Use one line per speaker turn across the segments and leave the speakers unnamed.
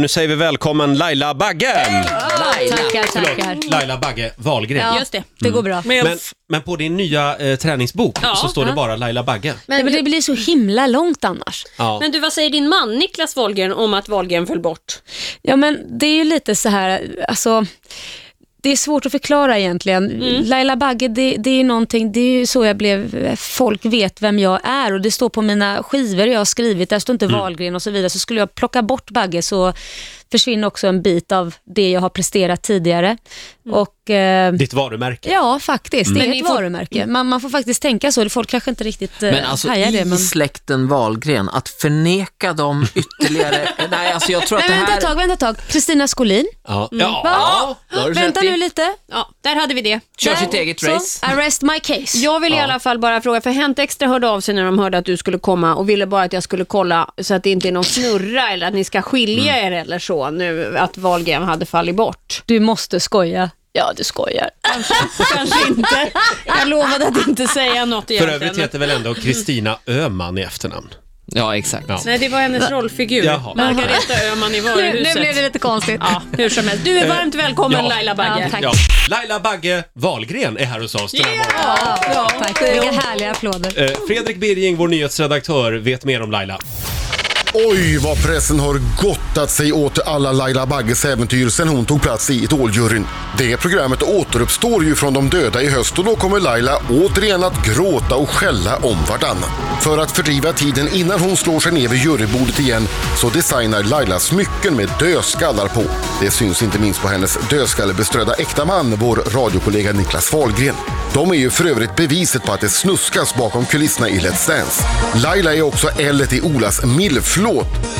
Nu säger vi välkommen Laila Bagge!
Tackar, tackar.
Förlåt, Laila Bagge Wahlgren.
Ja,
Just det.
det går bra. Men,
Mm. Men, men på din nya eh, träningsbok
Ja.
så står det bara Laila Bagge.
men det blir så himla långt annars.
Ja.
Men du, vad säger din man Niklas Wahlgren om att Wahlgren föll bort?
Ja, men det är ju lite så här, alltså, det är svårt att förklara egentligen. Laila Bagge, det, det är ju någonting, det är ju så jag blev, folk vet vem jag är och det står på mina skivor jag har skrivit, där står inte Wahlgren och så vidare, så skulle jag plocka bort Bagge så försvinner också en bit av det jag har presterat tidigare. Och, eh,
Ditt varumärke.
Ja, faktiskt. Det är
Men
ett
ni får-
varumärke. Man, man får faktiskt tänka så. Folk kanske inte riktigt eh,
Men alltså
hajar
i
det. Men...
släkten Wahlgren, att förneka dem ytterligare. Nej, alltså jag tror att
Nej,
det
men vänta ett
här...
tag, vänta ett tag. Kristina Skolin.
Ja.
Mm.
Va?
Ja.
det har du
vänta
rätt i.
nu lite.
Ja, där hade vi det.
Kör
Där.
sitt eget
Så,
race.
Arrest my case.
Jag vill i alla fall bara fråga, för Hänt Extra hörde av sig när de hörde att du skulle komma och ville bara att jag skulle kolla så att det inte är någon snurra eller att ni ska skilja
Mm.
er eller så nu, att Wahlgren hade fallit bort.
Du måste skoja.
Ja, du skojar. Kanske, kanske inte. Jag lovade att inte säga något
För
egentligen.
övrigt heter väl ändå Kristina Öman i efternamn?
Ja, exakt.
Ja.
Nej, det var hennes rollfigur.
Jaha.
Margareta Öhman i varuhuset.
lite konstigt.
Ja, hur som helst. Du är varmt välkommen
Eh, ja.
Laila Bagge.
Ja, tack.
Ja. Laila Bagge Wahlgren är här hos oss den här morgonen.
Ja, tack. Vilka härliga applåder.
Eh, Fredrik Birging, vår nyhetsredaktör, vet mer om Laila.
Oj, vad pressen har gottat sig åt alla Laila Bagges äventyr sen hon tog plats i Idoljuryn. Det programmet återuppstår ju från de döda i höst och då kommer Laila återigen att gråta och skälla om vartannat. För att fördriva tiden innan hon slår sig ner vid jurybordet igen så designar Laila smycken med dödskallar på. Det syns inte minst på hennes dödskallebeströdda äkta man, vår radiokollega Niklas Wahlgren. De är ju för övrigt beviset på att det snuskas bakom kulisserna i Let's Dance. Laila är också L i Olas millflåt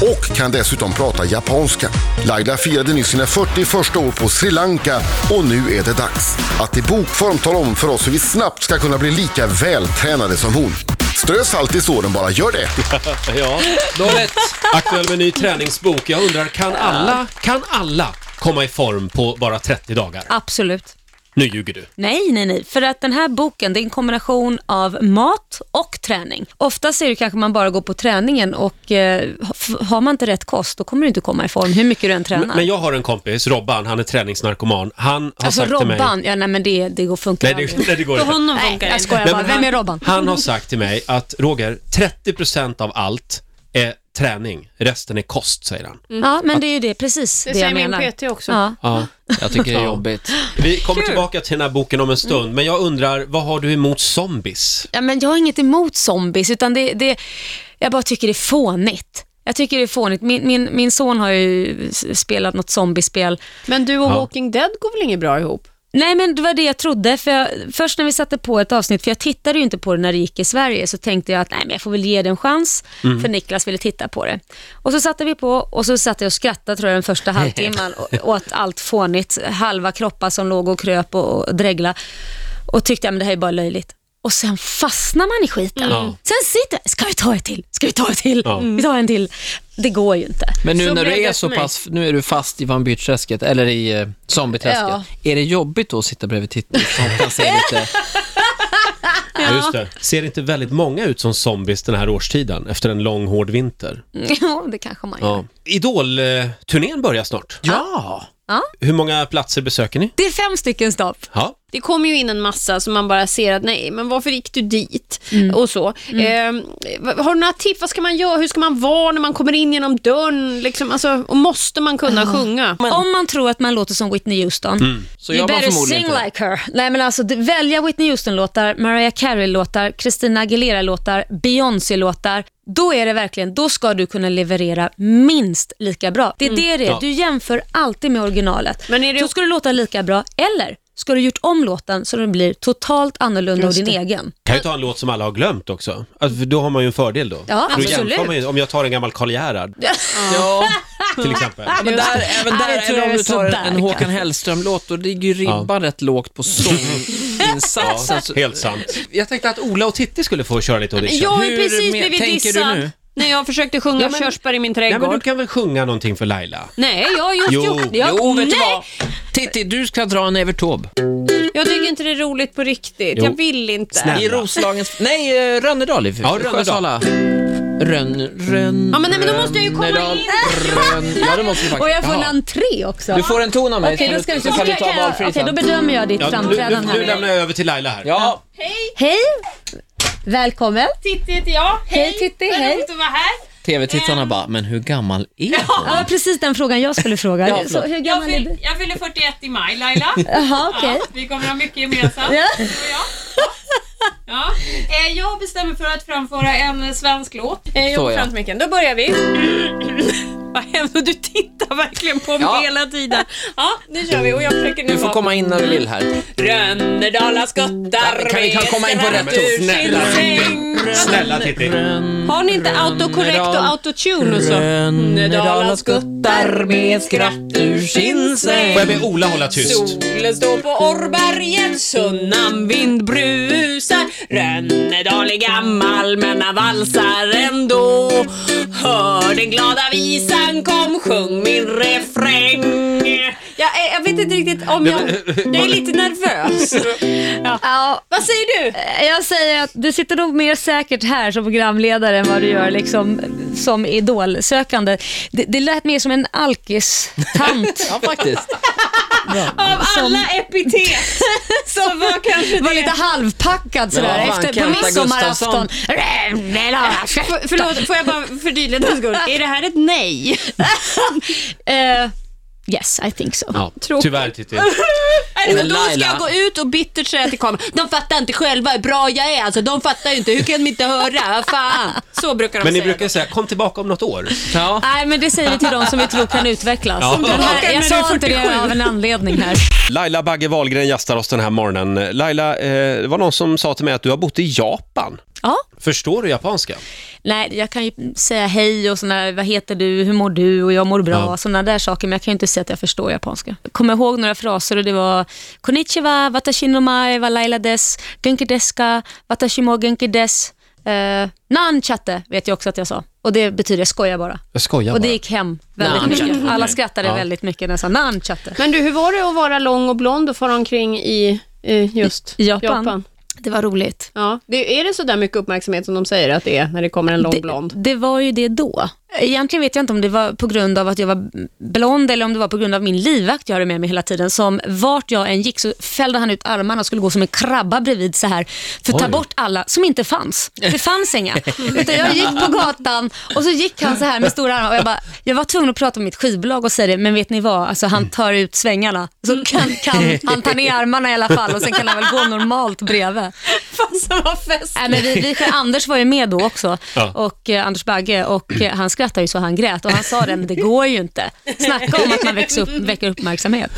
och kan dessutom prata japanska. Laila firade nyss sina 41 år på Sri Lanka och nu är det dags att i bokform tala om för oss hur vi snabbt ska kunna bli lika vältränade som hon. Strö salt i såren bara, gör det!
Ja. Aktuell med ny träningsbok. Jag undrar, kan alla, kan alla komma i form på bara 30 dagar?
Absolut.
Nu ljuger du.
Nej, nej, nej. För att den här boken, det är en kombination av mat och träning. Oftast är det kanske man bara går på träningen och eh, ha- f- har man inte rätt kost, då kommer du inte komma i form hur mycket du än tränar.
Men, men jag har en kompis, Robban, han är träningsnarkoman. Han har
alltså
sagt till mig...
Robban, ja, nej men det, det går, funkar
Nej, det,
aldrig.
nej, det går
För
inte.
honom
Nej,
funkar
jag
inte.
skojar
Nej,
bara.
men han-
Vem är Robban?
Han har sagt till mig att Roger, 30% av allt är träning, resten är kost, säger han.
Ja, men det är ju det, precis det,
Det
jag
säger min
menar.
PT också.
Ja.
Ja.
Jag tycker det är
Ja.
jobbigt.
Vi kommer tillbaka till den här boken om en stund,
Mm.
men jag undrar, vad har du emot zombies?
Ja, men jag har inget emot zombies, utan det, det, jag bara tycker det är fånigt. Jag tycker det är fånigt. Min, min, min son har ju s- spelat något zombiespel.
Men du och
Ja.
Walking Dead går väl inget bra ihop?
Nej, men det var det jag trodde. För jag, först när vi satte på ett avsnitt, för jag tittade ju inte på det när det gick i Sverige, så tänkte jag att nej, men jag får väl ge det en chans,
Mm.
för Niklas ville titta på det. Och så satte vi på och så satt jag och skrattade tror jag den första halvtimman och- åt allt fånigt. Halva kroppar som låg och kröp och, och dregla och tyckte att det här är bara löjligt. Och sen fastnar man i skiten.
Ja.
Sen sitter jag, ska vi ta ett till? Ska vi ta ett till?
Mm. Ja.
Vi tar en till. Det går ju inte.
Men nu
Så
när
blev
du är
det
så
för mig.
pass, nu är du fast i vampyrträsket, eller i eh, zombieträsket.
Ja.
Är det jobbigt då att sitta bredvid Titti som kan se lite...
Ja. Just det. Ser inte väldigt många ut som zombies den här årstiden, efter en lång hård vinter?
Jo, det kanske man gör.
Ja. Idol-turnén börjar snart.
Ja!
Ja.
Hur många platser besöker ni?
Det är fem stycken stopp.
Ja.
Det kommer ju in en massa som man bara ser att nej, men varför gick du dit?
Mm.
Och så. Ehm, vad- har du några tips? Vad ska man göra? Hur ska man vara när man kommer in genom dörren? Liksom, alltså, och måste man kunna
Ah.
sjunga?
Om man tror att man låter som Whitney Houston,
Mm.
Så
you
jag var
better
förmodligen
sing
inte det.
like her. Nej, men alltså, d- välja Whitney Houston-låtar, Mariah Carey-låtar, Christina Aguilera-låtar, Beyoncé-låtar. Då är det verkligen, då ska du kunna leverera minst lika bra. Det är
Mm.
det det är.
Ja.
Du jämför alltid med originalet.
Men är det-
Då ska du låta lika bra, eller ska du gjort om låten så den blir totalt annorlunda och din egen.
Kan ju ta en låt som alla har glömt också. Alltså, för då har man ju en fördel då.
Ja,
då jämför
absolut.
man ju, om jag tar en gammal Karl Gerhard,
Ja,
till exempel.
men där, även
Ja, det
där,
tror
eller
jag
om
är
du tar en,
sådär,
en Håkan
kanske.
Hellström-låt, då ligger ju ribban rätt lågt på Alltså, sånginsatsen. Så-
Helt sant. Jag tänkte att Ola och Titti skulle få köra lite audition.
Jag är
Hur
precis
men-
blivit
tänker du
dissad
nu?
när jag försökte sjunga
Ja, men-
körsbär i min
Nej,
trädgård.
men du kan väl sjunga någonting för Laila?
Nej, jag har just
Jo.
gjort det. Jag,
Jo, vet du
nej,
vad? Titti, du ska dra en Evert Taube.
jag
Mm.
tycker inte det är roligt på riktigt.
Jo.
Jag vill inte.
Snälla.
I Roslagens... Nej, eh, Rönnedal i
Ja, Rönnedal.
Sjösala. Rönn, rönn,
Ja, men nej, men då måste jag ju komma
rönneral,
in.
Rönn. Ja, det måste du
Och
faktiskt.
jag får en
Jaha.
entré också.
Du får en ton av mig,
Okej,
så
då,
kan
ska
du-
du,
så kan
ska
du
jag,
ta valfri
okej,
sen.
då bedömer jag ditt
Ja, nu, nu,
framträdande
nu
här.
lämnar jag över till Laila här.
Ja,
Hej! Välkommen!
Titti heter jag. Hej,
Hej, Titti,
Vad
hej.
roligt att vara här.
tv-tittarna bara, men hur gammal är hon?
Ja, precis den frågan jag skulle fråga. Så, hur
Jag,
gammal är du?
fyll, jag fyller 41 i maj Laila.
Jaha, okej.
Ja, vi kommer ha mycket gemensamt,
Ja.
du och jag. Ja. Eh, Jag bestämmer för att framföra en eh, svensk låt.
Eh, Jag
Så,
går
ja.
fram till micken. Då börjar vi. Vad händer? Du tittar verkligen på mig
Ja.
hela tiden. Ja, nu kör vi. Och jag försöker nu
Du får
vara-
komma in när du vill här.
Rönnerdala skuttar
Kan vi- kan vi komma in på
reser
rätt
allt ur
ton? Snälla.
sin säng.
Snälla Titti.
Har ni inte autocorrect och autotune och så?
Rönnedalas guttar med skratt ur sin säng
Får jag be Ola hålla tyst?
Solen står på Orrberget, sunnan vind brusar Rönnedal är gammal men han valsar ändå Hör den glada visan, kom sjung min refräng jag, är- eh, jag vet inte riktigt om jag... Jag är lite nervös.
Ja,
Vad säger du?
jag säger att du sitter nog mer säkert här som programledare än vad du gör liksom, som idolsökande. Det, det lät mer som en alkis-tant.
Ja, faktiskt.
Av alla epitet så var kanske
Var
det...
lite halvpackad sådär
Ja,
efter, på
Kenta
midsommarafton.
För, förlåt, får jag bara förtydliga den skull? Är det här ett nej?
Eh, yes, I think so.
Ja,
Tråkigt.
tyvärr Titti.
Nej, men då ska
Laila.
jag gå ut och bittert säga till kameran, de fattar inte själva hur bra jag är, alltså de fattar ju inte, hur kan de inte höra, fan. Så brukar de
Men ni
säga.
brukar säga, kom tillbaka om något år.
Ja.
Nej, men det säger vi till de som vi tror kan utvecklas.
Ja.
Den här, jag sa inte det
47.
av en anledning här.
Laila Bagge Wahlgren gästar oss den här morgonen. Laila, eh, det var någon som sa till mig att du har bott i Japan.
Ja.
Förstår du japanska?
Nej, jag kan ju säga hej och sådana, vad heter du, hur mår du och jag mår bra,
Ja.
sådana där saker, men jag kan ju inte säga att jag förstår japanska. Jag kommer ihåg några fraser och det var konnichiwa, watashi no mae, wa laila des, genki deska, watashi mo genki des, eh, nan chatte vet jag också att jag sa. Och det betyder jag skojar bara.
Jag skojar
Och det gick hem
Nan
väldigt mycket.
chatte.
Alla skrattade
Ja.
väldigt mycket när jag sa nan chatte.
Men du, hur var det att vara lång och blond och fara omkring i eh, just
I Japan. Det var roligt.
Ja. Det, är det så där mycket uppmärksamhet som de säger att det är när det kommer en lång blond?
Det var ju det då. Egentligen vet jag inte om det var på grund av att jag var blond eller om det var på grund av min livvakt jag hade med mig hela tiden. Som vart jag än gick så fällde han ut armarna och skulle gå som en krabba bredvid så här för att ta
Oj.
bort alla som inte fanns. Det fanns inga. Utan jag gick på gatan och så gick han så här med stora armar och jag bara, jag var tvungen att prata med mitt skivbolag och säga det, men vet ni vad, alltså, han tar ut svängarna. Så kan, kan han ta ner armarna i alla fall och sen kan han väl gå normalt bredvid.
Fan som var fest.
Nej, men vi, vi, Anders var ju med då också,
Ja.
och eh, Anders Bagge, och eh, han skrattade ju så han grät och han sa det, men det går ju inte. Snacka om att man växer upp, väcker uppmärksamhet.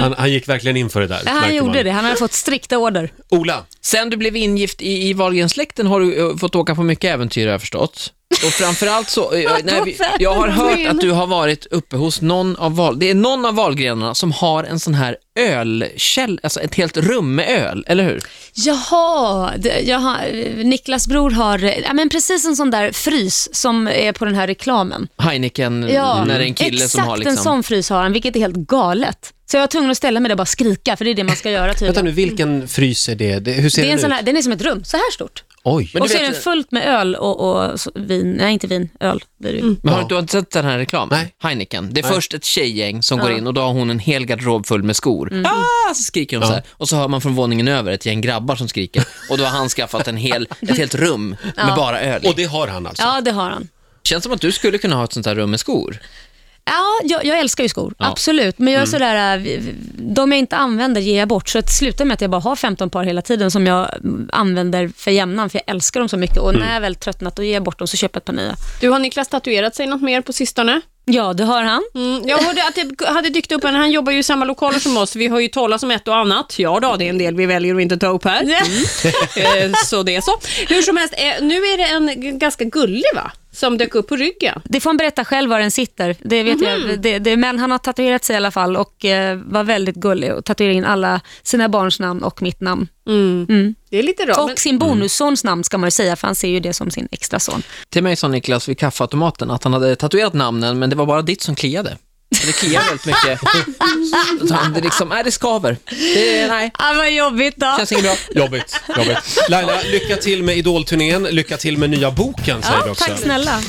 Han, han gick verkligen in för det där.
Mm. Ja, han
märkte
gjorde
man.
det, han hade fått strikta order.
Ola,
Sen du blev ingift i, i Wahlgrensläkten har du eh, fått åka på mycket äventyr har jag förstått. Och framförallt så, eh, när vi, jag har hört att du har varit uppe hos någon av val, det är någon av valgrenarna som har en sån här ölkäll, alltså ett helt rum med öl, eller hur?
Jaha, det, jag har, eh, Niklas bror har eh, ja, men precis en sån där frys som är på den här reklamen.
Heineken, när det är en kille
exakt
som har liksom...
Mm. en sån frys har han, vilket är helt galet. Så jag var tvungen att ställa mig där och bara skrika, för det är det man ska göra
vänta
tydligen.
nu, vilken frys är det? det hur ser
Det är en
den
sån
ut?
här, den är som ett rum, så här stort.
Oj.
Men
och
du
så är
vet-
den fullt med öl och, och så, vin, nej inte vin, öl blir det ju.
Men har du- du har inte sett den här reklamen?
Nej.
Heineken. Det är först ett tjejgäng som går in och då har hon en hel garderob full med skor.
Mm.
Ah! Så skriker hon så här. Och så hör man från våningen över ett gäng grabbar som skriker. Och då har han skaffat en hel, ett helt rum med bara öl.
Och
Och
det har han alltså?
Ja, det har han.
det känns som att du skulle kunna ha ett sånt här rum med skor.
Ja, jag, jag älskar ju skor, absolut. Men jag är sådär, äh, vi- vi- de jag inte använder ger jag bort. Så det slutar med att jag bara har 15 par hela tiden som jag mm, använder för jämnan, för jag älskar dem så mycket. Och när jag väl tröttnat, då ger jag bort dem så köper jag ett par nya.
Du, har Niklas tatuerat sig något mer på sistone?
Ja, det har han.
Mm, jag hörde att det hade dykt upp en, han jobbar ju i samma lokaler som oss, vi har ju talat om ett och annat. Ja då, det är en del vi väljer att inte ta upp här. Mm. Eh, så det är så. Hur som helst, eh, nu är det en g- ganska gullig va? Som dök upp på ryggen.
Det får han berätta själv var den sitter. Det vet jag. Det, det, men han har tatuerat sig i alla fall och eh, var väldigt gullig och tatuerade in alla sina barns namn och mitt namn.
Det är lite rart.
och
men-
sin bonussons namn ska man ju säga, för han ser ju det som sin extra son.
Till mig sa Niklas vid kaffeautomaten att han hade tatuerat namnen, men det var bara ditt som kliade. Men det kliar väldigt mycket. Så han, det, liksom, nej, det skaver. Det, nej,
Ah, vad jobbigt då.
känns inget bra.
Jobbigt, jobbigt. Laila, lycka till med Idolturnén, lycka till med nya boken säger vi
Ja,
också.
tack snälla.